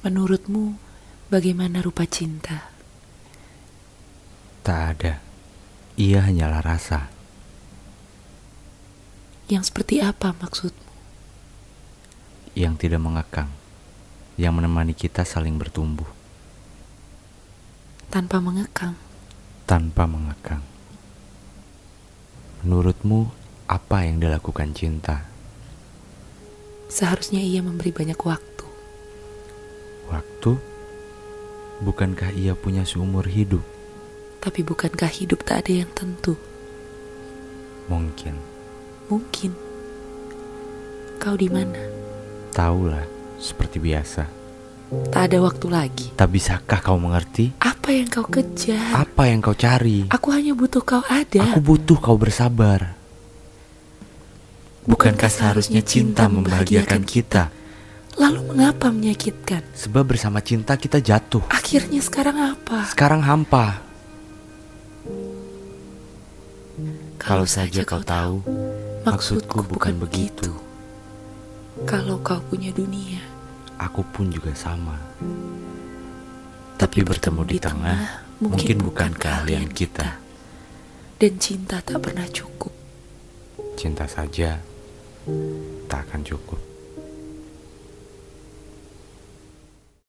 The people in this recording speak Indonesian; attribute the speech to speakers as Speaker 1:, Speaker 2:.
Speaker 1: Menurutmu, bagaimana rupa cinta?
Speaker 2: Tak ada. Ia hanyalah rasa.
Speaker 1: Yang seperti apa maksudmu?
Speaker 2: yang tidak mengekang, yang menemani kita saling bertumbuh
Speaker 1: Tanpa mengekang,
Speaker 2: tanpa mengekang. Menurutmu, apa yang dilakukan cinta?
Speaker 1: seharusnya ia memberi banyak waktu.
Speaker 2: Waktu? Bukankah ia punya seumur hidup?
Speaker 1: Tapi bukankah hidup tak ada yang tentu?
Speaker 2: Mungkin.
Speaker 1: Mungkin. Kau di mana?
Speaker 2: Taulah, seperti biasa.
Speaker 1: Tak ada waktu lagi.
Speaker 2: Tak bisakah kau mengerti?
Speaker 1: Apa yang kau kejar?
Speaker 2: Apa yang kau cari?
Speaker 1: Aku hanya butuh kau ada.
Speaker 2: Aku butuh kau bersabar. Bukankah seharusnya cinta membahagiakan kita?
Speaker 1: Lalu mengapa menyakitkan?
Speaker 2: Sebab bersama cinta kita jatuh.
Speaker 1: Akhirnya sekarang apa?
Speaker 2: Sekarang hampa. Kalau saja kau tahu, maksudku bukan begitu.
Speaker 1: Kalau kau punya dunia,
Speaker 2: Aku pun juga sama. Tapi bertemu di tengah, mungkin bukan keahlian kita.
Speaker 1: Dan cinta tak pernah cukup.
Speaker 2: Cinta saja tak akan cukup.